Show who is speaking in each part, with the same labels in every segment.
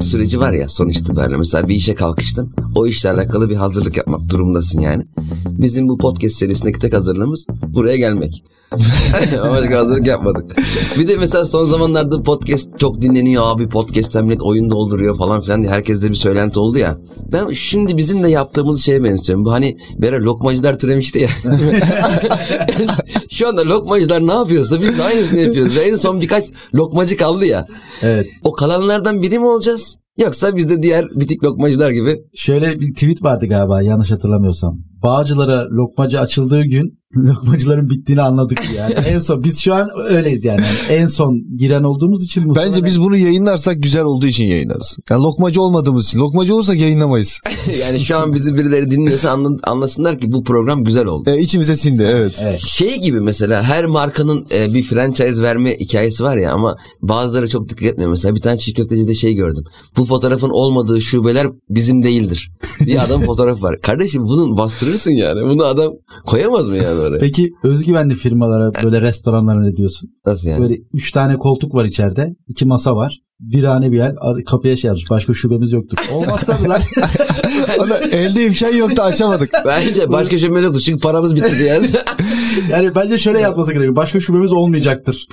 Speaker 1: süreci var ya son itibariyle. Mesela bir işe kalkıştın. O işle alakalı bir hazırlık yapmak durumundasın yani. Bizim bu podcast serisindeki tek hazırlığımız buraya gelmek. Başka hazırlık yapmadık. Bir de mesela son zamanlarda podcast çok dinleniyor abi. Podcast'ten millet oyun dolduruyor falan filan diye. Herkeste bir söylenti oldu ya. Ben şimdi bizim de yaptığımız şeye benziyorum. Bu hani böyle lokmacılar türemişti ya. Şu anda lokmacılar ne yapıyorsa biz de aynısını yapıyoruz. En son birkaç lokmacı kaldı ya.
Speaker 2: Evet.
Speaker 1: O kalanlardan biri mi olacağız? Yoksa biz de diğer bitik lokmacılar gibi.
Speaker 2: Şöyle bir tweet vardı galiba yanlış hatırlamıyorsam. Bağcılara lokmacı açıldığı gün lokmacıların bittiğini anladık yani. en son biz şu an öyleyiz yani. Yani en son giren olduğumuz için muhtemelen-
Speaker 3: Bence biz bunu yayınlarsak güzel olduğu için yayınlarız. Yani lokmacı olmadığımız için. Lokmacı olursak yayınlamayız.
Speaker 1: Yani şu an bizi birileri dinliyorsa anla- anlasınlar ki bu program güzel oldu.
Speaker 3: E, içimize sindi evet.
Speaker 2: Evet.
Speaker 1: Şey gibi mesela her markanın e, bir franchise verme hikayesi var ya ama bazıları çok dikkat etmiyor. Mesela bir tane çiğ köftecide şey gördüm. Bu fotoğrafın olmadığı şubeler bizim değildir diye adam fotoğraf var. Kardeşim bunun bastırırsın yani. Bunu adam koyamaz mı yani oraya?
Speaker 2: Peki özgüvenli firmalara böyle restoranlara ne diyorsun?
Speaker 1: Nasıl yani?
Speaker 2: Böyle üç tane koltuk var içeride. iki masa var. Virane bir yer. ar- Kapıya şey yazmış. Başka şubemiz yoktur. Olmaz tabii lan.
Speaker 3: Ana, elde imkan yoktu açamadık.
Speaker 1: Bence başka şey yoktu çünkü paramız bitti diye.
Speaker 2: Yani bence şöyle yazması gerekiyor. Başka şubemiz olmayacaktır.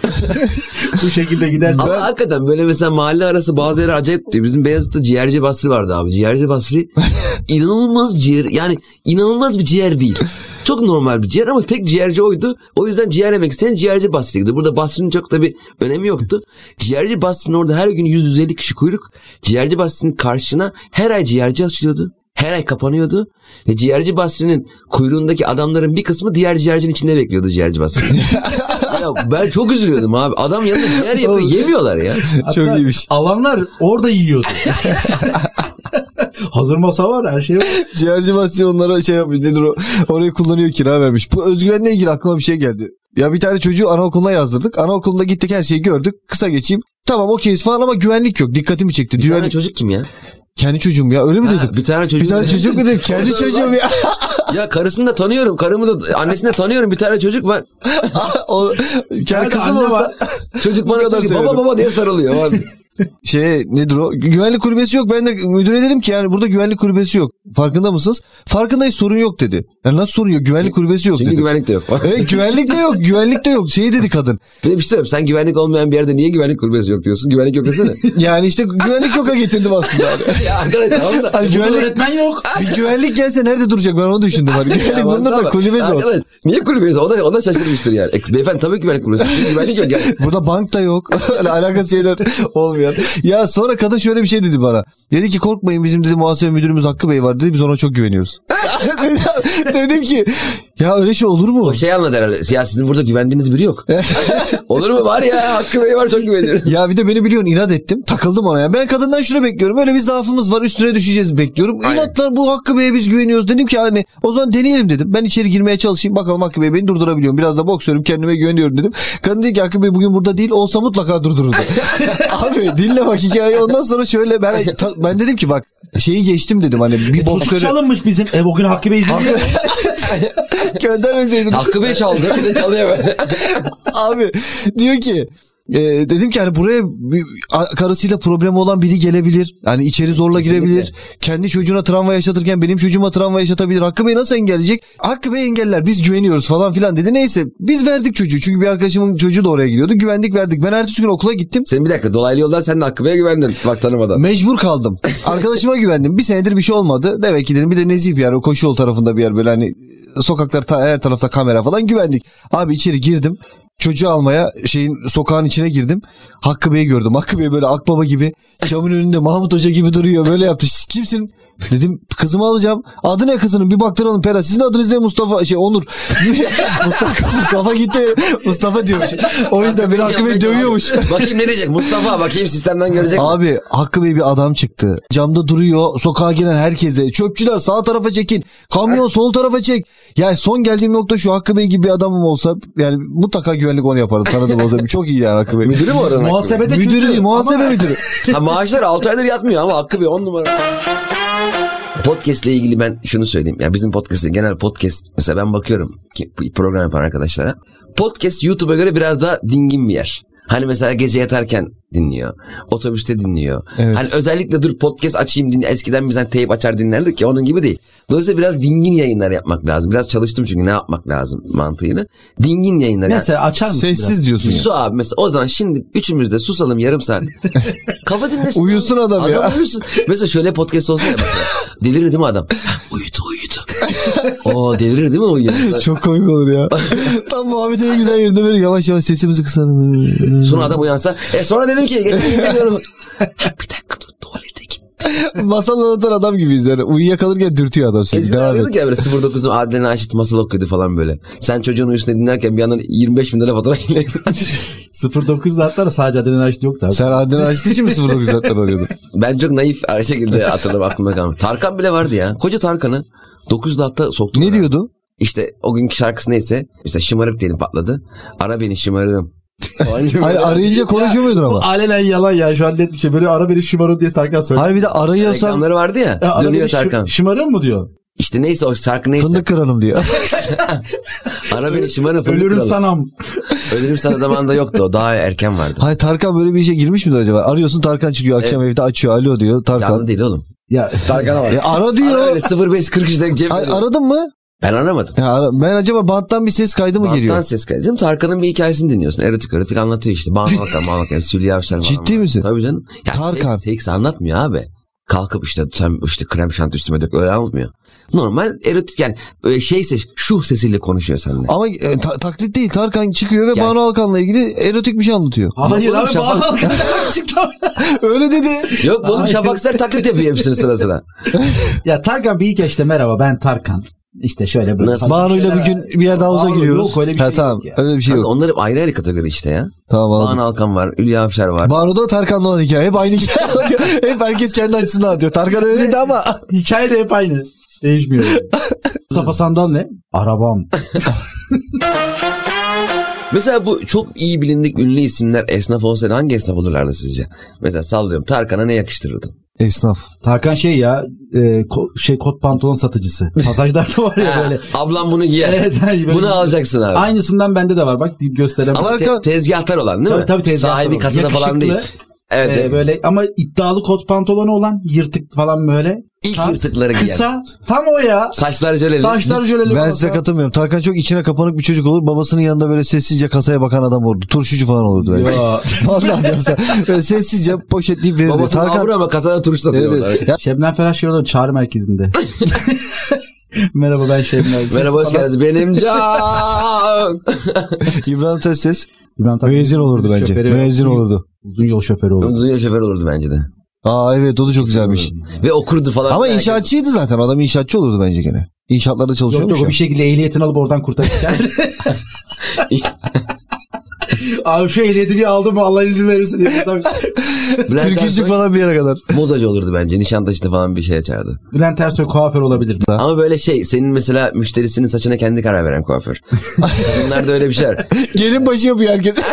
Speaker 2: Bu şekilde giderse.
Speaker 1: Ama hakikaten böyle mesela mahalle arası bazı yerler acayip diyor. Bizim Beyazıt'ta ciğerci Basri vardı abi. Ciğerci Basri inanılmaz ciğer yani inanılmaz bir ciğer değil. Çok normal bir ciğer ama tek ciğerci oydu. O yüzden ciğer yemek isteyen ciğerci Basri'ye gidiyor. Burada Basri'nin çok da bir önemi yoktu. Ciğerci Basri'nin orada her gün 150 kişi kuyruk. Ciğerci Basri'nin karşına her ay ciğerci açılıyordu. Her ay kapanıyordu ve ciğerci Basri'nin kuyruğundaki adamların bir kısmı diğer ciğercinin içinde bekliyordu ciğerci Basri. ya ben çok üzülüyordum abi. Adam yanında ciğer yapıyor yemiyorlar ya.
Speaker 3: Çok iyiymiş.
Speaker 2: Alanlar orada yiyordu. Hazır masa var her şey var.
Speaker 3: Ciğerci Basri onlara şey yapmış nedir o orayı kullanıyor kira vermiş. Bu özgüvenle ilgili aklıma bir şey geldi. Ya bir tane çocuğu anaokuluna yazdırdık. Anaokulunda gittik her şeyi gördük. Kısa geçeyim. Tamam okeyiz falan ama güvenlik yok. Dikkatimi çekti.
Speaker 1: Bir tane
Speaker 3: Güvenlik...
Speaker 1: çocuk kim ya?
Speaker 3: Kendi çocuğum ya öyle mi
Speaker 1: Ha,
Speaker 3: dedim?
Speaker 1: bir tane çocuk.
Speaker 3: Bir tane çocuk mu dedim? Kendi çocuğum ya.
Speaker 1: ya karısını da tanıyorum. Karımı da annesini de tanıyorum. Bir tane çocuk var.
Speaker 3: o, kendi
Speaker 2: Nerede
Speaker 3: kızım
Speaker 2: anne
Speaker 3: olsa...
Speaker 2: var?
Speaker 1: Çocuk
Speaker 3: Bu
Speaker 1: bana
Speaker 3: kadar
Speaker 1: diyor ki, baba
Speaker 3: seviyorum.
Speaker 1: baba diye sarılıyor. Var.
Speaker 3: şey nedir o? Güvenlik kulübesi yok. Ben de müdüre dedim ki yani burada güvenlik kulübesi yok. Farkında mısınız? Farkındayız sorun yok dedi. Yani nasıl sorun yok? Güvenlik kulübesi yok
Speaker 1: Çünkü
Speaker 3: dedi.
Speaker 1: güvenlik de yok.
Speaker 3: Evet güvenlik de yok. Güvenlik de yok. Şey dedi kadın.
Speaker 1: Bir de bir şey söyleyeyim. Sen güvenlik olmayan bir yerde niye güvenlik kulübesi yok diyorsun? Güvenlik yok desene.
Speaker 3: Yani işte güvenlik yoka getirdim aslında.
Speaker 1: ya arkadaş tamam da.
Speaker 3: Hani güvenlik,
Speaker 2: Öğretmen yok.
Speaker 3: bir güvenlik gelse nerede duracak ben onu düşündüm. Hani güvenlik
Speaker 1: Ya
Speaker 3: bunlar da
Speaker 1: bak,
Speaker 3: kulübe zor.
Speaker 1: arkadaş, Niye kulübesi? O da, o da şaşırmıştır yani. E, beyefendi tabii ki güvenlik kulübesi. Çünkü güvenlik yok yani.
Speaker 3: Burada bank da yok. Öyle alakası şeyler olmuyor. Ya sonra kadın şöyle bir şey dedi bana. Dedi ki korkmayın bizim dedi muhasebe müdürümüz Hakkı Bey var dedi. Biz ona çok güveniyoruz. Dedim ki ya öyle şey olur mu?
Speaker 1: O şey anladı herhalde. Ya sizin burada güvendiğiniz biri yok. Olur mu? Var ya. Hakkı Bey var çok güveniyorum.
Speaker 3: Ya bir de beni biliyorsun inat ettim. Takıldım ona ya. Ben kadından şunu bekliyorum. Öyle bir zaafımız var üstüne düşeceğiz bekliyorum.
Speaker 1: Aynen.
Speaker 3: İnatla bu Hakkı Bey'e biz güveniyoruz. Dedim ki hani o zaman deneyelim dedim. Ben içeri girmeye çalışayım. Bakalım Hakkı Bey beni durdurabiliyor. mu? Biraz da boksörüm kendime güveniyorum dedim. Kadın dedi ki Hakkı Bey bugün burada değil olsa mutlaka durdururdu. Abi dinle bak hikayeyi. Ondan sonra şöyle ben ta- ben dedim ki bak şeyi geçtim dedim hani bir boksörü
Speaker 2: Çalınmış bizim. E bugün Hakkı Bey izliyor.
Speaker 3: göndermeseydiniz.
Speaker 1: Hakkı Bey çaldı. Bir de çalıyor.
Speaker 3: Abi diyor ki e, dedim ki hani buraya bir- a- karısıyla problemi olan biri gelebilir. Hani içeri zorla
Speaker 1: Kesinlikle.
Speaker 3: girebilir. Kendi çocuğuna travma yaşatırken benim çocuğuma travma yaşatabilir. Hakkı Bey nasıl engelleyecek? Hakkı Bey engeller biz güveniyoruz falan filan dedi. Neyse biz verdik çocuğu. Çünkü bir arkadaşımın çocuğu da oraya gidiyordu. Güvendik verdik. Ben ertesi gün okula gittim.
Speaker 1: Sen bir dakika dolaylı yoldan sen de Hakkı Bey'e güvendin. Bak tanımadan.
Speaker 3: Mecbur kaldım. Arkadaşıma güvendim. Bir senedir bir şey olmadı. Demek ki dedim bir de nezih bir yer. O koşu yol tarafında bir yer böyle hani sokaklar ta- her tarafta kamera falan güvendik. Abi içeri girdim. Çocuğu almaya şeyin sokağın içine girdim. Hakkı Bey'i gördüm. Hakkı Bey böyle akbaba gibi camın önünde Mahmut Hoca gibi duruyor. Böyle yaptı. "Siz Kimsin? Dedim kızımı alacağım. Adı ne kızının? Bir baktıralım Pera. Sizin adınız ne Mustafa? Şey Onur. Mustafa, Mustafa gitti. Mustafa diyormuş. O yüzden beni Hakkı Bey dövüyormuş.
Speaker 1: Bakayım ne diyecek Mustafa bakayım sistemden görecek. mi?
Speaker 3: Abi Hakkı Bey bir adam çıktı. Camda duruyor. Sokağa giren herkese. Çöpçüler sağ tarafa çekin. Kamyon sol tarafa çek. Ya son geldiğim nokta şu Hakkı Bey gibi bir adamım olsa yani mutlaka güvenlik onu yapardı. Tanıdım o zaman. Çok iyi yani Hakkı Bey.
Speaker 1: Müdürü mü oranın?
Speaker 2: Muhasebede
Speaker 3: Müdürü,
Speaker 2: kötü.
Speaker 3: muhasebe müdürü.
Speaker 1: Ha, maaşlar 6 aydır yatmıyor ama Hakkı Bey 10 numara. Podcast ile ilgili ben şunu söyleyeyim. Ya bizim podcast'in genel podcast mesela ben bakıyorum ki bu program yapan arkadaşlara. Podcast YouTube'a göre biraz daha dingin bir yer. Hani mesela gece yatarken dinliyor. Otobüste dinliyor.
Speaker 3: Evet.
Speaker 1: Hani özellikle dur podcast açayım dinle. Eskiden biz hani teyp açar dinlerdik ya onun gibi değil. Dolayısıyla biraz dingin yayınlar yapmak lazım. Biraz çalıştım çünkü ne yapmak lazım mantığını. Dingin yayınlar. yani-
Speaker 2: Mesela açar mısın? biraz?
Speaker 3: Sessiz diyorsun. ya.
Speaker 1: Su abi mesela o zaman şimdi üçümüz de susalım yarım saat. Kafa dinlesin.
Speaker 3: Uyusun adam ya.
Speaker 1: uyusun. Mesela şöyle podcast olsa ya mesela. Delirir değil mi adam? uyudu uyudu. Oo delirir değil mi uyuyor?
Speaker 3: Çok komik olur ya. Tam muhabbetin en güzel yerinde böyle yavaş yavaş sesimizi kısalım.
Speaker 1: Sonra adam uyansa. E sonra dedim ki geçen gün biliyorum. bir dakika dur tuvalete git.
Speaker 3: Masal anlatan adam gibiyiz yani. Uyuyakalırken dürtüyor adam seni.
Speaker 1: Eskiden
Speaker 3: Devam et.
Speaker 1: arıyorduk ya böyle 09'da Adile Naşit masal okuyordu falan böyle. Sen çocuğun uyusunu dinlerken bir yandan 25 bin lira fatura geliyor.
Speaker 2: 09 zaten sadece adrenalin açtı yoktu abi.
Speaker 3: Sen adını açtı için mi 09 zaten arıyordun?
Speaker 1: ben çok naif her şekilde hatırladım aklımda kalmış. Tarkan bile vardı ya. Koca Tarkan'ı 9'da hatta soktu.
Speaker 3: ne diyordu?
Speaker 1: İşte o günkü şarkısı neyse işte şımarık diyelim patladı. Ara beni şımarığım. Falan gibi
Speaker 3: Hayır
Speaker 1: böyle.
Speaker 3: arayınca konuşamıyordun
Speaker 2: Bu
Speaker 3: ama.
Speaker 2: alenen yalan ya şu an net bir şey. Böyle ara beni şımarın diye Tarkan söylüyor.
Speaker 3: Hayır bir de arıyorsan
Speaker 1: Reklamları vardı ya.
Speaker 2: Ya, ara
Speaker 1: dönüyor
Speaker 2: beni şım-
Speaker 1: Tarkan.
Speaker 2: Şımarın mı diyor?
Speaker 1: İşte neyse o şarkı neyse.
Speaker 3: fındık kıralım diyor.
Speaker 1: Ara beni şımarığım. fındık
Speaker 2: Ölürüm
Speaker 1: kralı.
Speaker 2: sanam.
Speaker 1: Ölürüm sana zamanında yoktu o. Daha erken vardı.
Speaker 3: Hayır Tarkan böyle bir işe girmiş midir acaba? Arıyorsun Tarkan çıkıyor akşam evde açıyor. Alo diyor Tarkan.
Speaker 1: Canlı değil oğlum.
Speaker 2: Ya
Speaker 1: Tarkan'a var.
Speaker 3: E, ara
Speaker 1: Ara
Speaker 3: diyor.
Speaker 1: öyle 0543 denk cep.
Speaker 3: Ay, aradın mı?
Speaker 1: Ben anlamadım.
Speaker 3: Ya, ara- ben acaba banttan bir ses kaydı mı
Speaker 1: Banttan
Speaker 3: geliyor?
Speaker 1: ses kaydı. Değil mi? Tarkan'ın bir hikayesini dinliyorsun. Erotik erotik anlatıyor işte. Bana bakalım bana bakalım. Süleyman Avşar falan.
Speaker 3: Ciddi
Speaker 1: var.
Speaker 3: misin?
Speaker 1: Tabii canım. Ya
Speaker 3: Tarkan.
Speaker 1: Seks, seks anlatmıyor abi. Kalkıp işte sen işte krem şanti üstüme dök öyle anlatmıyor. Normal erotik yani e, şeyse şu sesiyle konuşuyor seninle.
Speaker 3: Ama e, ta- taklit değil. Tarkan çıkıyor ve
Speaker 1: Gerçi-
Speaker 3: Banu Alkan'la ilgili erotik bir şey anlatıyor.
Speaker 2: Hayır
Speaker 1: Oğlum,
Speaker 2: abi
Speaker 1: şafak-
Speaker 2: bağlı Alkan'dan çıktı abi.
Speaker 3: Öyle dedi.
Speaker 1: Yok oğlum
Speaker 2: Hayır.
Speaker 1: Şafak Ser taklit yapıyor hepsini sıra sıra.
Speaker 2: Ya Tarkan bir hikaye işte merhaba ben Tarkan. İşte şöyle böyle.
Speaker 1: Nasıl?
Speaker 3: Banu'yla bir gün bir yerde havuza
Speaker 2: Banu,
Speaker 3: giriyoruz.
Speaker 2: yok, öyle bir
Speaker 3: Ha,
Speaker 2: şey
Speaker 3: tamam,
Speaker 2: yok ya.
Speaker 3: Öyle bir şey
Speaker 1: Kanka,
Speaker 3: yok.
Speaker 1: onlar hep ayrı ayrı kategori işte ya.
Speaker 3: Tamam
Speaker 1: Doğan
Speaker 3: anladım.
Speaker 1: Alkan var, Hülya Avşar var.
Speaker 3: Banu'da Tarkan'la olan hikaye. Hep aynı hikaye anlatıyor. Hep herkes kendi açısından anlatıyor. Tarkan öyle dedi ama.
Speaker 2: Hikaye de hep aynı. Değişmiyor. yani. Mustafa Sandal ne? Arabam.
Speaker 1: Mesela bu çok iyi bilindik ünlü isimler esnaf olsaydı hangi esnaf olurlardı sizce? Mesela sallıyorum Tarkan'a ne yakıştırırdın?
Speaker 3: Esnaf.
Speaker 2: Tarkan şey ya e, ko- şey kot pantolon satıcısı. Pasajlarda var ya
Speaker 1: Ha,
Speaker 2: böyle.
Speaker 1: ablam bunu giyer.
Speaker 2: Evet, hayır, böyle-
Speaker 1: Bunu alacaksın abi.
Speaker 2: Aynısından bende de var bak deyip gösteremem.
Speaker 1: Ama te-
Speaker 3: Tarkan-
Speaker 1: tezgahtar olan değil mi?
Speaker 2: Tabii, tabii, tezgahtar
Speaker 1: Sahibi
Speaker 2: olan.
Speaker 1: kasada falan
Speaker 2: Yakışıklı,
Speaker 1: değil. Evet.
Speaker 2: E,
Speaker 1: evet.
Speaker 2: böyle ama iddialı kot pantolonu olan yırtık falan böyle.
Speaker 1: İlk
Speaker 2: Tas,
Speaker 1: yırtıkları giyer.
Speaker 2: Kısa tam o ya.
Speaker 1: Saçlar jöleli.
Speaker 2: Saçlar jöleli.
Speaker 3: Ben
Speaker 2: falan.
Speaker 3: size katılmıyorum. Tarkan çok içine kapanık bir çocuk olur. Babasının yanında böyle sessizce kasaya bakan adam olurdu. Turşucu falan olurdu. belki.
Speaker 2: Yo.
Speaker 3: Vallahi diyorum sana. Böyle sessizce poşetleyip verirdi.
Speaker 1: Babasını
Speaker 3: Tarkan...
Speaker 1: avruyor ama kasada turşu satıyor.
Speaker 3: Evet,
Speaker 1: orada.
Speaker 3: evet. Ya,
Speaker 2: Şebnem Ferah şey olur, çağrı merkezinde. Merhaba ben Şebnem. Siz
Speaker 1: Merhaba hoş
Speaker 2: falan-
Speaker 1: geldiniz. Benim can.
Speaker 3: İbrahim Tatlıses
Speaker 2: İbrahim Tatlıses
Speaker 3: müezzin olurdu
Speaker 2: otobüs
Speaker 3: bence.
Speaker 2: şoförü ve
Speaker 3: Müezzin
Speaker 2: uzun-
Speaker 3: olurdu.
Speaker 2: Uzun yol şoförü olurdu.
Speaker 1: Dünya şoför olurdu bence de.
Speaker 3: Aa evet o da çok güzelmiş.
Speaker 1: Ve okurdu falan.
Speaker 3: Ama
Speaker 1: Herkes-
Speaker 3: inşaatçıydı zaten. Adam inşaatçı olurdu bence gene. İnşaatlarda
Speaker 2: Yok
Speaker 3: çalışıyormuş
Speaker 2: yok o
Speaker 3: ya.
Speaker 2: bir şekilde ehliyetini alıp oradan kurtarırken. Abi şu ehliyeti bir aldım mı Allah izin verirse diye. Buradan-
Speaker 1: Bülent
Speaker 3: Türkücülük
Speaker 1: Ersoy
Speaker 3: falan bir yere kadar.
Speaker 1: Bozacı olurdu bence. Nişantaşı'nda falan bir şey açardı.
Speaker 2: Bülent Ersoy kuaför olabilirdi.
Speaker 1: Ama böyle şey senin mesela müşterisinin saçına kendi karar veren kuaför. Bunlar da öyle bir şeyler.
Speaker 3: Gelin başı yapıyor herkes.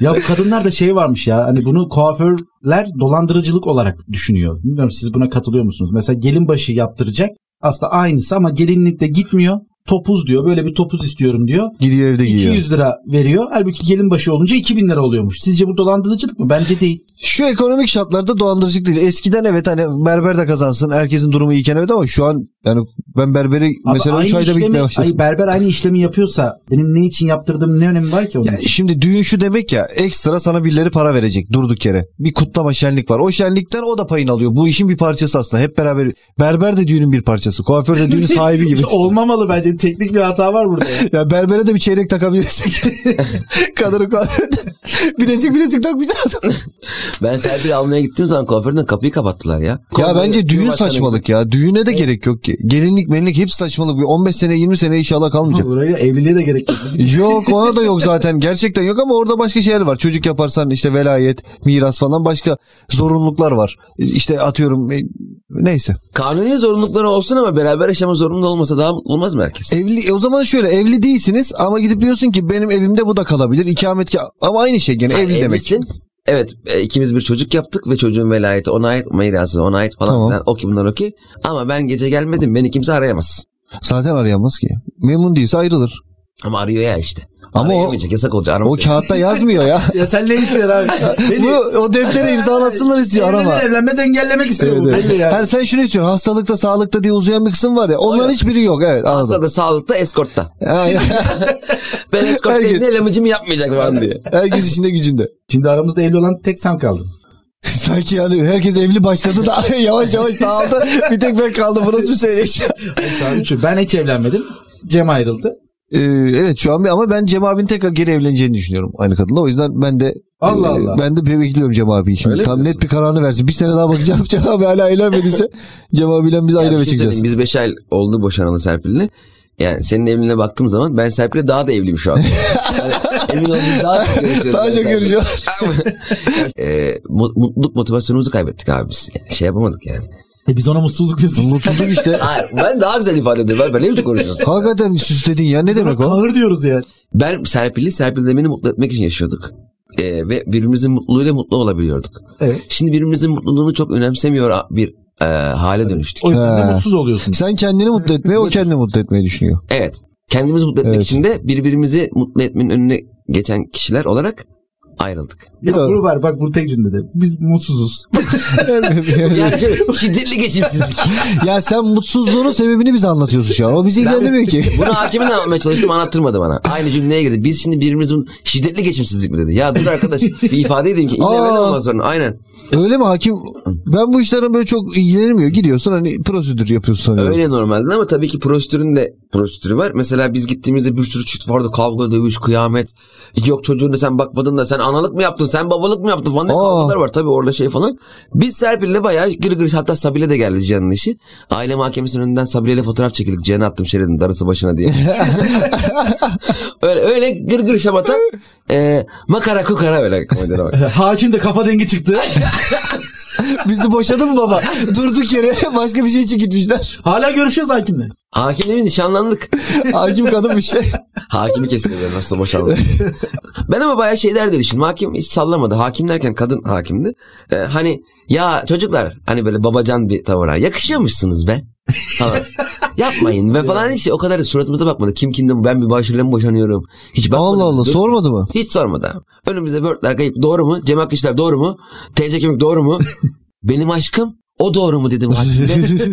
Speaker 2: Ya bu kadınlar da şey varmış ya hani bunu kuaförler dolandırıcılık olarak düşünüyor. Bilmiyorum siz buna katılıyor musunuz? Mesela gelin başı yaptıracak aslında aynısı ama gelinlikte gitmiyor. Topuz diyor böyle bir topuz istiyorum diyor.
Speaker 3: Giriyor evde giyiyor.
Speaker 2: 200 lira veriyor. Halbuki gelin başı olunca 2000 lira oluyormuş. Sizce bu dolandırıcılık mı? Bence değil.
Speaker 3: Şu ekonomik şartlarda dolandırıcılık değil. Eskiden evet hani berber de kazansın. Herkesin durumu iyiken evet ama şu an yani ben berberi
Speaker 2: Abi
Speaker 3: mesela 3
Speaker 2: aynı
Speaker 3: ayda bir
Speaker 2: işlemi-
Speaker 3: gitmeye başladım.
Speaker 2: Ay berber aynı işlemi yapıyorsa benim ne için yaptırdığım ne önemi var ki onun?
Speaker 3: Ya şimdi düğün şu demek ya ekstra sana birileri para verecek durduk yere. Bir kutlama şenlik var. O şenlikten o da payını alıyor. Bu işin bir parçası aslında. Hep beraber berber de düğünün bir parçası. Kuaför de düğünün sahibi gibi.
Speaker 2: Olmamalı bence. Teknik bir hata var burada. ya.
Speaker 3: ya berbere de bir çeyrek takabilirsek. Kadını kuaförde. Bilezik bilezik takmış adam.
Speaker 1: Ben Serpil'i almaya gittiğim zaman kuaförden kapıyı kapattılar ya.
Speaker 3: Ya bence düğün
Speaker 1: Cumhurbaşkanı-
Speaker 3: saçmalık ya. Düğüne de gerek yok ki. Gelinlik menlik hepsi saçmalık. Bir 15 sene 20 sene inşallah kalmayacak.
Speaker 2: Buraya evliliğe de gerek yok.
Speaker 3: Yok ona da yok zaten. Gerçekten yok ama orada başka şeyler var. Çocuk yaparsan işte velayet, miras falan başka zorunluluklar var. İşte atıyorum e, neyse.
Speaker 1: Kanuni zorunlulukları olsun ama beraber yaşama zorunlu olmasa daha mutlu olmaz mı herkes?
Speaker 3: Evli e, o zaman şöyle evli değilsiniz ama gidip diyorsun ki benim evimde bu da kalabilir. İkamet ama aynı şey gene evli demek.
Speaker 1: Evlisin. Evet e, ikimiz bir çocuk yaptık ve çocuğun velayeti ona ait, mirası ona ait falan
Speaker 3: Tamam.
Speaker 1: filan. O ki bunlar o ki. Ama ben gece gelmedim beni kimse arayamaz.
Speaker 3: Zaten arayamaz ki. Memnun değilse ayrılır.
Speaker 1: Ama arıyor ya işte.
Speaker 3: Ama o,
Speaker 1: Yemeyecek, yasak olacak.
Speaker 3: o
Speaker 1: aramayacak.
Speaker 3: kağıtta yazmıyor ya.
Speaker 2: Ya sen ne istiyorsun abi? Ne
Speaker 3: Bu,
Speaker 2: diyor?
Speaker 3: o deftere imzalatsınlar istiyor
Speaker 2: Evlenir
Speaker 3: arama.
Speaker 2: Evlenmez engellemek istiyor
Speaker 3: Evet,
Speaker 2: bu
Speaker 3: evet.
Speaker 2: belli yani.
Speaker 3: Şey Yani Hani sen şunu istiyorsun hastalıkta sağlıkta diye uzayan bir kısım var ya onların hiçbiri yok evet anladım.
Speaker 1: Hastada, sağlıkta, eskortta.
Speaker 3: Aynen.
Speaker 1: Ben eskortta
Speaker 3: Herkes-
Speaker 1: ne elemecimi yapmayacak falan diye.
Speaker 3: Herkes içinde gücünde.
Speaker 2: Şimdi aramızda evli olan tek sen kaldın.
Speaker 3: Sanki yani herkes evli başladı da yavaş yavaş dağıldı. Bir tek ben kaldım. Bu nasıl bir şey söyleşi?
Speaker 2: Sen üçü. Ben hiç evlenmedim. Cem ayrıldı.
Speaker 3: Ee, evet şu an bir- ama ben Cem abinin tekrar geri evleneceğini düşünüyorum aynı kadınla. O yüzden ben de
Speaker 2: Allah
Speaker 3: e,
Speaker 2: Allah.
Speaker 3: ben de bir bekliyorum Cem abi şimdi.
Speaker 1: Öyle mi
Speaker 3: Tam net
Speaker 1: diyorsun?
Speaker 3: bir kararını versin. Bir sene daha bakacağım Cem abi hala evlenmediyse Cem abiyle biz
Speaker 1: Ya
Speaker 3: ayrı
Speaker 1: bir
Speaker 3: eve
Speaker 1: şey
Speaker 3: çıkacağız.
Speaker 1: söyleyeyim, Biz 5 ay oldu boşanalı Serpil'le. Yani senin evliliğine baktığım zaman ben Serpil'e daha da evliyim şu an. yani emin olun daha çok görüşüyoruz. ben
Speaker 3: Daha çok
Speaker 1: Serpil'le.
Speaker 3: görüşüyorlar.
Speaker 1: Ee, mu- mutluluk motivasyonumuzu kaybettik abi biz. Yani şey yapamadık yani.
Speaker 2: E biz ona mutsuzluk diyoruz.
Speaker 3: Mutsuzluk işte.
Speaker 1: Hayır, ben daha güzel ifade ediyorum. Ben, ben ne biçim konuşuyorsun?
Speaker 3: Hakikaten süsledin ya ne demek o?
Speaker 2: Kahır diyoruz yani.
Speaker 1: Ben Serpil'i, Serpil de beni mutlu etmek için yaşıyorduk. Ee, ve birbirimizin mutluluğuyla mutlu olabiliyorduk.
Speaker 2: Evet.
Speaker 1: Şimdi birbirimizin mutluluğunu çok önemsemiyor bir e, hale dönüştük.
Speaker 2: O yüzden
Speaker 3: He.
Speaker 2: de mutsuz oluyorsun.
Speaker 3: Sen kendini mutlu etmeye o kendini mutlu etmeyi düşünüyor.
Speaker 1: Evet. Kendimizi mutlu etmek
Speaker 3: Evet.
Speaker 1: için de birbirimizi mutlu etmenin önüne geçen kişiler olarak ayrıldık.
Speaker 2: Ya
Speaker 3: Bravo.
Speaker 2: bunu ver bak bunu tek cümlede. Biz mutsuzuz.
Speaker 1: Yani şöyle şiddetli geçimsizlik.
Speaker 3: ya sen mutsuzluğunun sebebini bize anlatıyorsun şu an. O bizi ilgilendirmiyor ki.
Speaker 1: Bunu hakime de anlatmaya çalıştım anlattırmadı bana. Aynı cümleye girdi. Biz şimdi birbirimizin şiddetli geçimsizlik mi dedi. Ya dur arkadaş bir ifade edeyim ki inleme
Speaker 3: Aa.
Speaker 1: olmaz sonra. Aynen.
Speaker 3: Öyle mi hakim? Ben bu işlerden böyle çok ilgilenmiyor. Gidiyorsun hani prosedür yapıyorsun sanıyorum.
Speaker 1: Öyle normalde ama tabii ki prosedürün de prosedürü var. Mesela biz gittiğimizde bir sürü çift vardı. Kavga, dövüş, kıyamet. Yok çocuğuna sen bakmadın da sen analık mı yaptın, sen babalık mı yaptın falan. Ne
Speaker 3: Aa.
Speaker 1: kavgalar var tabii orada şey falan. Biz Serpil'le bayağı gır gır hatta Sabile de geldi Cihan'ın işi. Aile mahkemesinin önünden Sabile'yle fotoğraf çekildik. Cihan'a attım şeridin darısı başına diye. öyle öyle gır gır şamata. e, makara kukara öyle komedilere bak.
Speaker 2: Hakim de kafa dengi çıktı.
Speaker 3: Bizi boşadı mı baba? Durduk yere başka bir şey için gitmişler.
Speaker 2: Hala görüşüyoruz hakimle.
Speaker 1: Hakimle biz nişanlandık.
Speaker 3: Hakim kadın bir şey.
Speaker 1: Hakimi kesiyorlar nasıl boşandı. ben ama bayağı şeyler de düşündüm. Hakim hiç sallamadı. Hakim derken kadın hakimdi. Ee, hani ya çocuklar hani böyle babacan bir tavır. ha. Yakışıyormuşsunuz be. Falan. Yapmayın ve falan hiç şey, o kadar suratımıza bakmadı. Kim kimden ben bir başarıyla mı boşanıyorum? Hiç bakmadı.
Speaker 3: Allah Allah
Speaker 1: Dur-
Speaker 3: sormadı mı?
Speaker 1: Hiç sormadı. abi. Önümüze Word'ler kayıp doğru mu? Cem Akkışlar doğru mu? TC Kimlik doğru mu? Benim aşkım o doğru mu dedim hakimde.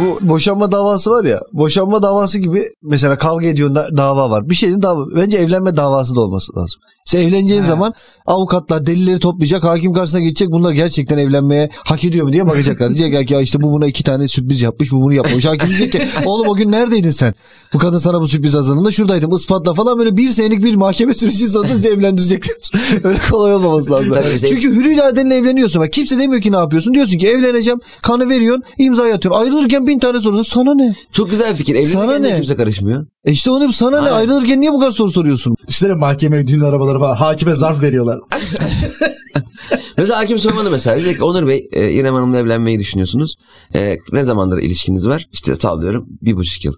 Speaker 3: Bu boşanma davası var ya. Boşanma davası gibi mesela kavga ediyorsun da- dava var. Bir şeyin dava. Bence evlenme davası da olması lazım. Sen evleneceğin
Speaker 2: He.
Speaker 3: zaman avukatlar delilleri toplayacak. Hakim karşısına geçecek. Bunlar gerçekten evlenmeye hak ediyor mu diye bakacaklar. Diyecekler ki ya işte bu buna iki tane sürpriz yapmış. Bu bunu yapmış. Hakim diyecek ki oğlum o gün neredeydin sen? Bu kadın sana bu sürpriz hazırlığında şuradaydım. Ispatla falan böyle bir senelik bir mahkeme süreci sonunda sizi evlendirecekler. Öyle kolay olmaması lazım.
Speaker 1: Tabii bize-
Speaker 3: Çünkü hür iradenle evleniyorsun. Bak kimse demiyor ki ne yapıyorsun. Diyorsun ki evleneceğim. Kanı veriyorsun. imzayı atıyorsun. Ayrılırken bin tane soruyorsun. Sana ne?
Speaker 1: Çok güzel fikir.
Speaker 3: Sana
Speaker 1: Evlenirken
Speaker 3: ne?
Speaker 1: de kimse karışmıyor.
Speaker 3: E işte oğlum sana ne?
Speaker 1: Aynen.
Speaker 3: Ayrılırken niye bu kadar soru soruyorsun?
Speaker 2: Düşünsene mahkemeye düğün arabaları falan. Hakime zarf veriyorlar.
Speaker 1: Mesela hakim sormadı mesela. Dedi ki Onur Bey e, İrem Hanım'la evlenmeyi düşünüyorsunuz. E, ne zamandır ilişkiniz var? İşte sallıyorum bir buçuk yıl.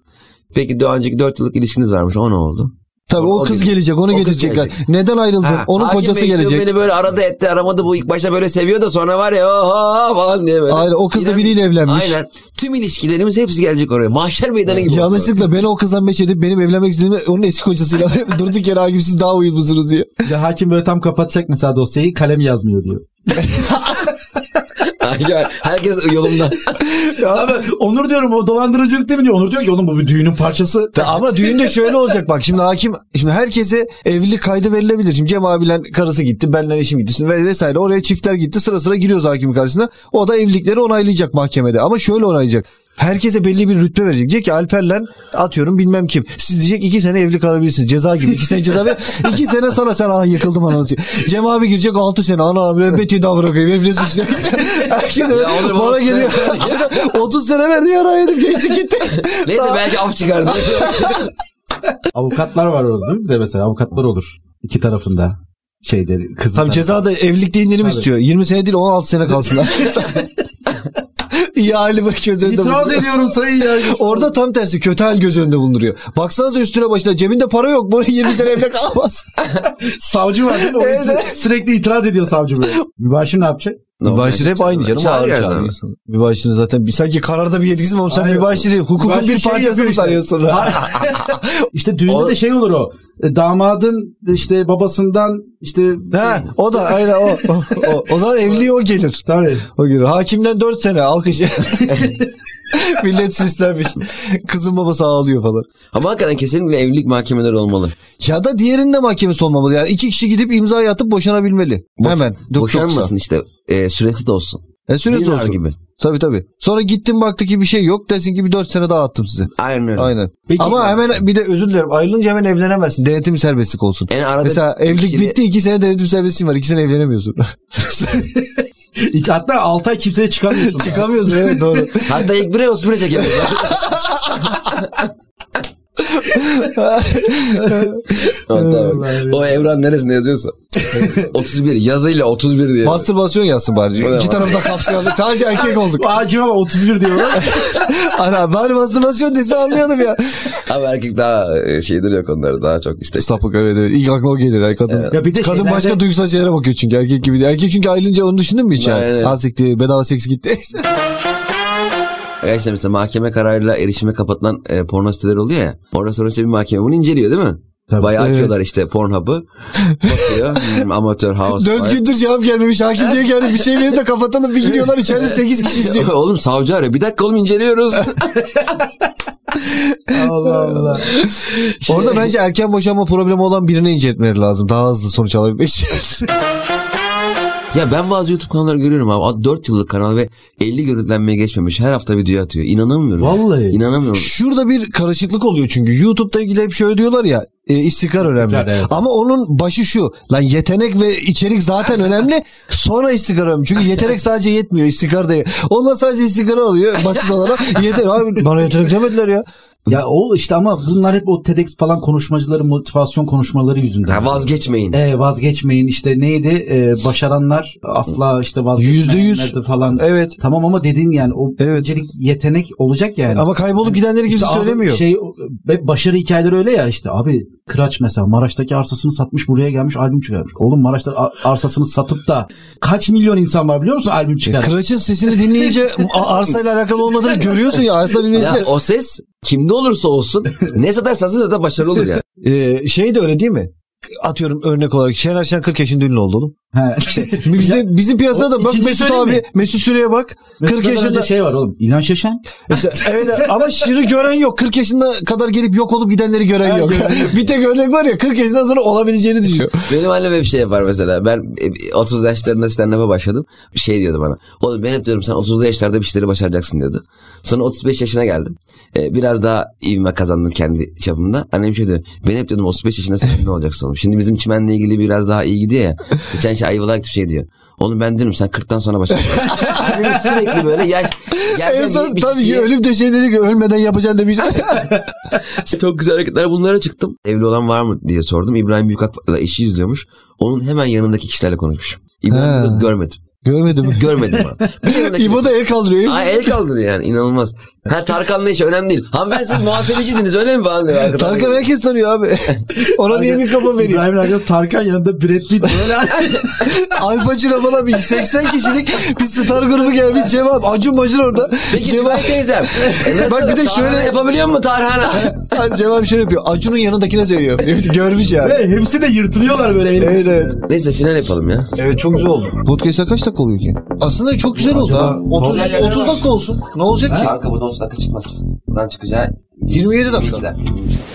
Speaker 1: Peki daha önceki dört yıllık ilişkiniz varmış. O ne oldu?
Speaker 3: Tabii o,
Speaker 1: O- o
Speaker 3: kız
Speaker 1: gelecek.
Speaker 3: gelecek. Onu
Speaker 1: O kız
Speaker 3: getirecekler.
Speaker 1: gelecek.
Speaker 3: Neden ayrıldın?
Speaker 1: Ha,
Speaker 3: Onun
Speaker 1: hakim
Speaker 3: kocası
Speaker 1: bey diyor,
Speaker 3: gelecek.
Speaker 1: Beni böyle aradı etti aramadı bu ilk başta böyle seviyor da sonra var ya oha falan diye böyle.
Speaker 3: Aynen, o kız da
Speaker 1: İrem-
Speaker 3: biriyle evlenmiş.
Speaker 1: Aynen. Tüm ilişkilerimiz hepsi gelecek oraya. Mahşer meydanı gibi. olsun
Speaker 3: Yanlışlıkla beni o kızdan meç edip benim evlenmek istediğimi onun eski kocasıyla durduk yere hakim siz daha uyumlusunuz diye.
Speaker 2: Bir de hakim böyle tam kapatacak mesela dosyayı kalem yazmıyor diyor.
Speaker 1: orası. Aynen. Herkes yolunda.
Speaker 2: Abi Onur diyorum o dolandırıcılık değil mi diyor. Onur diyor ki oğlum bu bir düğünün parçası.
Speaker 3: Ta- Ama düğünde şöyle olacak bak şimdi hakim şimdi herkese evlilik kaydı verilebilir. Şimdi Cem abilen karısı gitti, benle eşim gitti ve vesaire oraya çiftler gitti. Sıra sıra giriyoruz hakim karşısına. O da evlilikleri onaylayacak mahkemede ama şöyle onaylayacak. Herkese belli bir rütbe verecek. Diyecek ki Alper'len atıyorum bilmem kim. Siz diyecek iki sene evli kalabilirsiniz. Ceza gibi. iki sene ceza ver. iki sene sonra sen ah yıkıldım anasını. Cem abi girecek altı sene. Ana abi öbeti davra koyayım. Herif ne suçlu. Herkes
Speaker 1: Ya oğlum,
Speaker 3: bana
Speaker 1: otuz sene
Speaker 3: geliyor. 30 sene verdi yara yedim. Geçti gitti.
Speaker 1: Neyse belki af çıkardı.
Speaker 2: Avukatlar var orada değil mi? Bir de mesela avukatlar olur. İki tarafında şeyleri kızın
Speaker 3: Tam
Speaker 2: tarafı.
Speaker 3: ceza da evlilikte indirim
Speaker 2: Tabii.
Speaker 3: istiyor. 20 sene değil 16 sene kalsınlar. İyi hali bak göz önünde
Speaker 2: İtiraz
Speaker 3: bulunduruyor.
Speaker 2: ediyorum sayın yargıç.
Speaker 3: Orada tam tersi kötü hal göz önünde bulunduruyor. Baksanıza üstüne başına cebinde para yok. Bunu 20 sene evde kalamaz.
Speaker 2: Savcı var değil mi? O
Speaker 3: Evet.
Speaker 2: Sürekli itiraz ediyor savcı böyle. Mübaşir ne yapacak?
Speaker 3: Mübaşir hep aynı canım.
Speaker 1: Çağır
Speaker 3: Ağır
Speaker 1: her
Speaker 3: çağır
Speaker 1: zaman.
Speaker 3: insanı. Mübaşir'in zaten bir, sanki kararda bir yetkisi mi oğlum? Sen
Speaker 2: Aynen.
Speaker 3: mübaşiri hukukun
Speaker 2: Mübaşir
Speaker 3: bir
Speaker 2: şey
Speaker 3: parçası
Speaker 2: yapıyor
Speaker 3: mı
Speaker 2: işte.
Speaker 3: sanıyorsun?
Speaker 2: İşte düğünde
Speaker 1: O-
Speaker 2: de şey olur o. E, Damadın işte babasından işte
Speaker 3: ha, o da aynen o. O, o, o zaman evliliği o gelir.
Speaker 2: tabii.
Speaker 3: O gelir. Hakimden 4 sene alkış. Millet süslenmiş. Kızın babası ağlıyor falan.
Speaker 1: Ama hakikaten kesinlikle evlilik mahkemeleri olmamalı.
Speaker 3: Ya da diğerinde mahkemesi olmamalı. Yani iki kişi gidip imza atıp boşanabilmeli.
Speaker 1: Boş-
Speaker 3: Hemen. Çok- çok kısa.
Speaker 1: Boşanmasın işte. E, süresi de olsun.
Speaker 3: E, süresi
Speaker 1: Dinar
Speaker 3: olsun.
Speaker 1: gibi.
Speaker 3: Tabii tabii. Sonra gittim baktı ki bir şey yok. Desin ki bir 4 sene daha attım size.
Speaker 1: Aynen öyle.
Speaker 3: Aynen.
Speaker 2: Peki-
Speaker 3: Ama hemen bir de özür dilerim. Ayrılınca hemen evlenemezsin. Denetim serbestlik olsun.
Speaker 1: Yani arada
Speaker 3: Mesela
Speaker 1: bir
Speaker 3: evlilik
Speaker 1: kere-
Speaker 3: bitti iki sene denetim serbestliğin var. İki sene evlenemiyorsun.
Speaker 2: İlk- Hatta 6 ay kimseye çıkamıyorsun.
Speaker 3: Çıkamıyorsun evet doğru.
Speaker 1: Hatta ilk bire osmine çekemiyor. Hatta bak, o evren neresinde yazıyorsa. 31 yazıyla 31 diye.
Speaker 3: Mastürbasyon yazsın bari.
Speaker 1: Evet,
Speaker 3: İki tarafta kapsayalım. Sadece erkek olduk.
Speaker 2: Acaba ama 31 diyoruz.
Speaker 3: Ana bari mastürbasyon desin anlayalım ya.
Speaker 1: Ama erkek daha e, şeydir yok onları daha çok istek.
Speaker 3: Sapık öyle değil. İlk aklına o gelir. ay kadın.
Speaker 2: Ya bir de
Speaker 3: Kadın
Speaker 2: şeylerde-
Speaker 3: başka duygusal şeylere bakıyor çünkü erkek gibi değil. Erkek çünkü ayrılınca onu düşündün mü hiç yani?
Speaker 1: Aynen.
Speaker 3: Ha siktir, bedava seks gitti.
Speaker 1: Arkadaşlar mesela mahkeme kararıyla erişime kapatılan e, porno siteleri oluyor ya. Orada sonra işte bir mahkeme bunu inceliyor değil mi?
Speaker 2: Tabii.
Speaker 1: Bayağı
Speaker 3: Evet.
Speaker 1: açıyorlar işte Pornhub'ı. Bakıyor. hmm, amatör house.
Speaker 3: Dört
Speaker 1: falan.
Speaker 3: gündür cevap gelmemiş. Hakim diyor ki hani bir şeyleri de kapatalım. Bir giriyorlar içeride sekiz kişi izliyor.
Speaker 1: oğlum savcı arıyor. Bir dakika oğlum inceliyoruz.
Speaker 2: Allah Allah.
Speaker 3: Orada bence erken boşanma problemi olan birine inceltmeleri lazım. Daha hızlı sonuç alabilmek için.
Speaker 1: ya ben bazı YouTube kanalları görüyorum abi. 4 yıllık kanal ve 50 görüntülenmeye geçmemiş. Her hafta video atıyor. İnanamıyorum.
Speaker 2: Vallahi.
Speaker 1: İnanamıyorum.
Speaker 3: Şurada bir karışıklık oluyor çünkü. YouTube'da ilgili hep şöyle diyorlar ya. e, istikrar önemli.
Speaker 2: evet.
Speaker 3: Ama onun başı şu. Lan yetenek ve içerik zaten önemli. Sonra istikrar önemli. Çünkü yetenek sadece yetmiyor. istikrar da Onlar sadece istikrar oluyor basit olarak. Yeter abi bana yetenek demediler ya.
Speaker 2: Ya o işte ama bunlar hep o TEDx falan konuşmacıların motivasyon konuşmaları yüzünden.
Speaker 1: Ha, vazgeçmeyin.
Speaker 2: E, vazgeçmeyin işte neydi E, başaranlar asla işte vazgeçmeyenler
Speaker 3: %100.
Speaker 2: de falan.
Speaker 3: Evet.
Speaker 2: Tamam ama dediğin yani o
Speaker 3: Evet.
Speaker 2: öncelik yetenek olacak yani.
Speaker 3: Ama kaybolup gidenleri kimse
Speaker 2: İşte abi
Speaker 3: söylemiyor.
Speaker 2: Şey, ve başarı hikayeleri öyle ya işte abi Kıraç mesela Maraş'taki arsasını satmış buraya gelmiş albüm çıkarmış. Oğlum Maraş'ta a- arsasını satıp da kaç milyon insan var biliyor musun
Speaker 3: E,
Speaker 2: albüm çıkar.
Speaker 3: Kıraç'ın sesini dinleyince a- arsayla alakalı olmadığını görüyorsun ya arsa bilmesi.
Speaker 1: Ya o ses kimde olursa olsun ne satarsa satsın zaten başarılı olur ya.
Speaker 3: Ee, şey de öyle değil mi? Atıyorum örnek olarak Şener Şen 40 yaşında ünlü oldu oğlum.
Speaker 2: He.
Speaker 3: Bizde, bizim piyasada da bak
Speaker 2: İkinci
Speaker 3: Mesut
Speaker 2: söyleyeyim
Speaker 3: abi
Speaker 2: mi?
Speaker 3: Mesut Süre'ye bak. 40
Speaker 2: Mesela önce
Speaker 3: yaşında
Speaker 2: şey var oğlum İlhan Şeşen.
Speaker 3: İşte evet ama şiiri gören yok. 40 yaşında kadar gelip yok olup gidenleri gören
Speaker 2: Ha,
Speaker 3: yok.
Speaker 2: gören
Speaker 3: bir tek örnek var ya 40 yaşından sonra olabileceğini düşünüyor.
Speaker 1: Benim annem hep şey yapar mesela. Ben e, 30 yaşlarında stand-up'a başladım. Bir şey diyordu bana. Oğlum ben hep diyorum sen 30'lu yaşlarda bir şeyleri başaracaksın diyordu. Sonra 35 yaşına geldim. E, biraz daha ivme kazandım kendi çapımda. Annem şey diyor. Ben hep diyordum 35 yaşında sen ne olacaksın oğlum. Şimdi bizim çimenle ilgili biraz daha iyi gidiyor ya. Geçen şey ayvalık bir şey diyor. Oğlum ben diyorum sen 40'tan sonra başlayacaksın. Annem sürekli böyle yaş.
Speaker 3: en
Speaker 1: Gerçekten
Speaker 3: son tabii
Speaker 1: 72'ye
Speaker 3: ölüm de şey dedi ki ölmeden yapacaksın demiş.
Speaker 1: Çok güzel hareketler bunlara çıktım. Evli olan var mı diye sordum. İbrahim Büyükak'la eşi izliyormuş. Onun hemen yanındaki kişilerle konuşmuş.
Speaker 3: He.
Speaker 1: İbrahim Büyükak'ı görmedim.
Speaker 3: Görmedim.
Speaker 1: Görmedim abi. Bir yanındaki-
Speaker 3: İbo da el kaldırıyor.
Speaker 1: Ay el kaldırıyor yani inanılmaz. Ha Tarkan'la iş önemli değil. Hanımefendi siz muhasebecidiniz öyle mi falan diyor. arkadan.
Speaker 3: Tarkan herkes tanıyor abi. Ona niye mikrofon veriyor?
Speaker 2: İbrahim Erkan Tarkan yanında Brad Pitt böyle.
Speaker 3: Al Pacino falan bir 80 kişilik bir star grubu gelmiş. Cevap Acun Bacın orada.
Speaker 1: Peki
Speaker 3: cevap,
Speaker 1: Cevap teyzem. e, nasıl?
Speaker 3: şey Bak bir de
Speaker 1: Tarhana
Speaker 3: şöyle-
Speaker 1: yapabiliyor mu Tarhana?
Speaker 3: Hani cevap şöyle yapıyor. Acun'un yanındakine söylüyor. Görmüş yani.
Speaker 2: Ve hepsi de yırtılıyorlar böyle. elini.
Speaker 3: Evet evet.
Speaker 1: Neyse final yapalım ya.
Speaker 3: Evet çok güzel oldu. Podcast'a kaç dakika oluyor ki? Aslında çok güzel oldu
Speaker 2: Acaba-
Speaker 3: ha. 30, 30 dakika olsun. Ne olacak ki?
Speaker 1: Kanka bu 10 dakika çıkmaz. Lan çıkacağı
Speaker 3: 27 dakika.
Speaker 1: 22'den.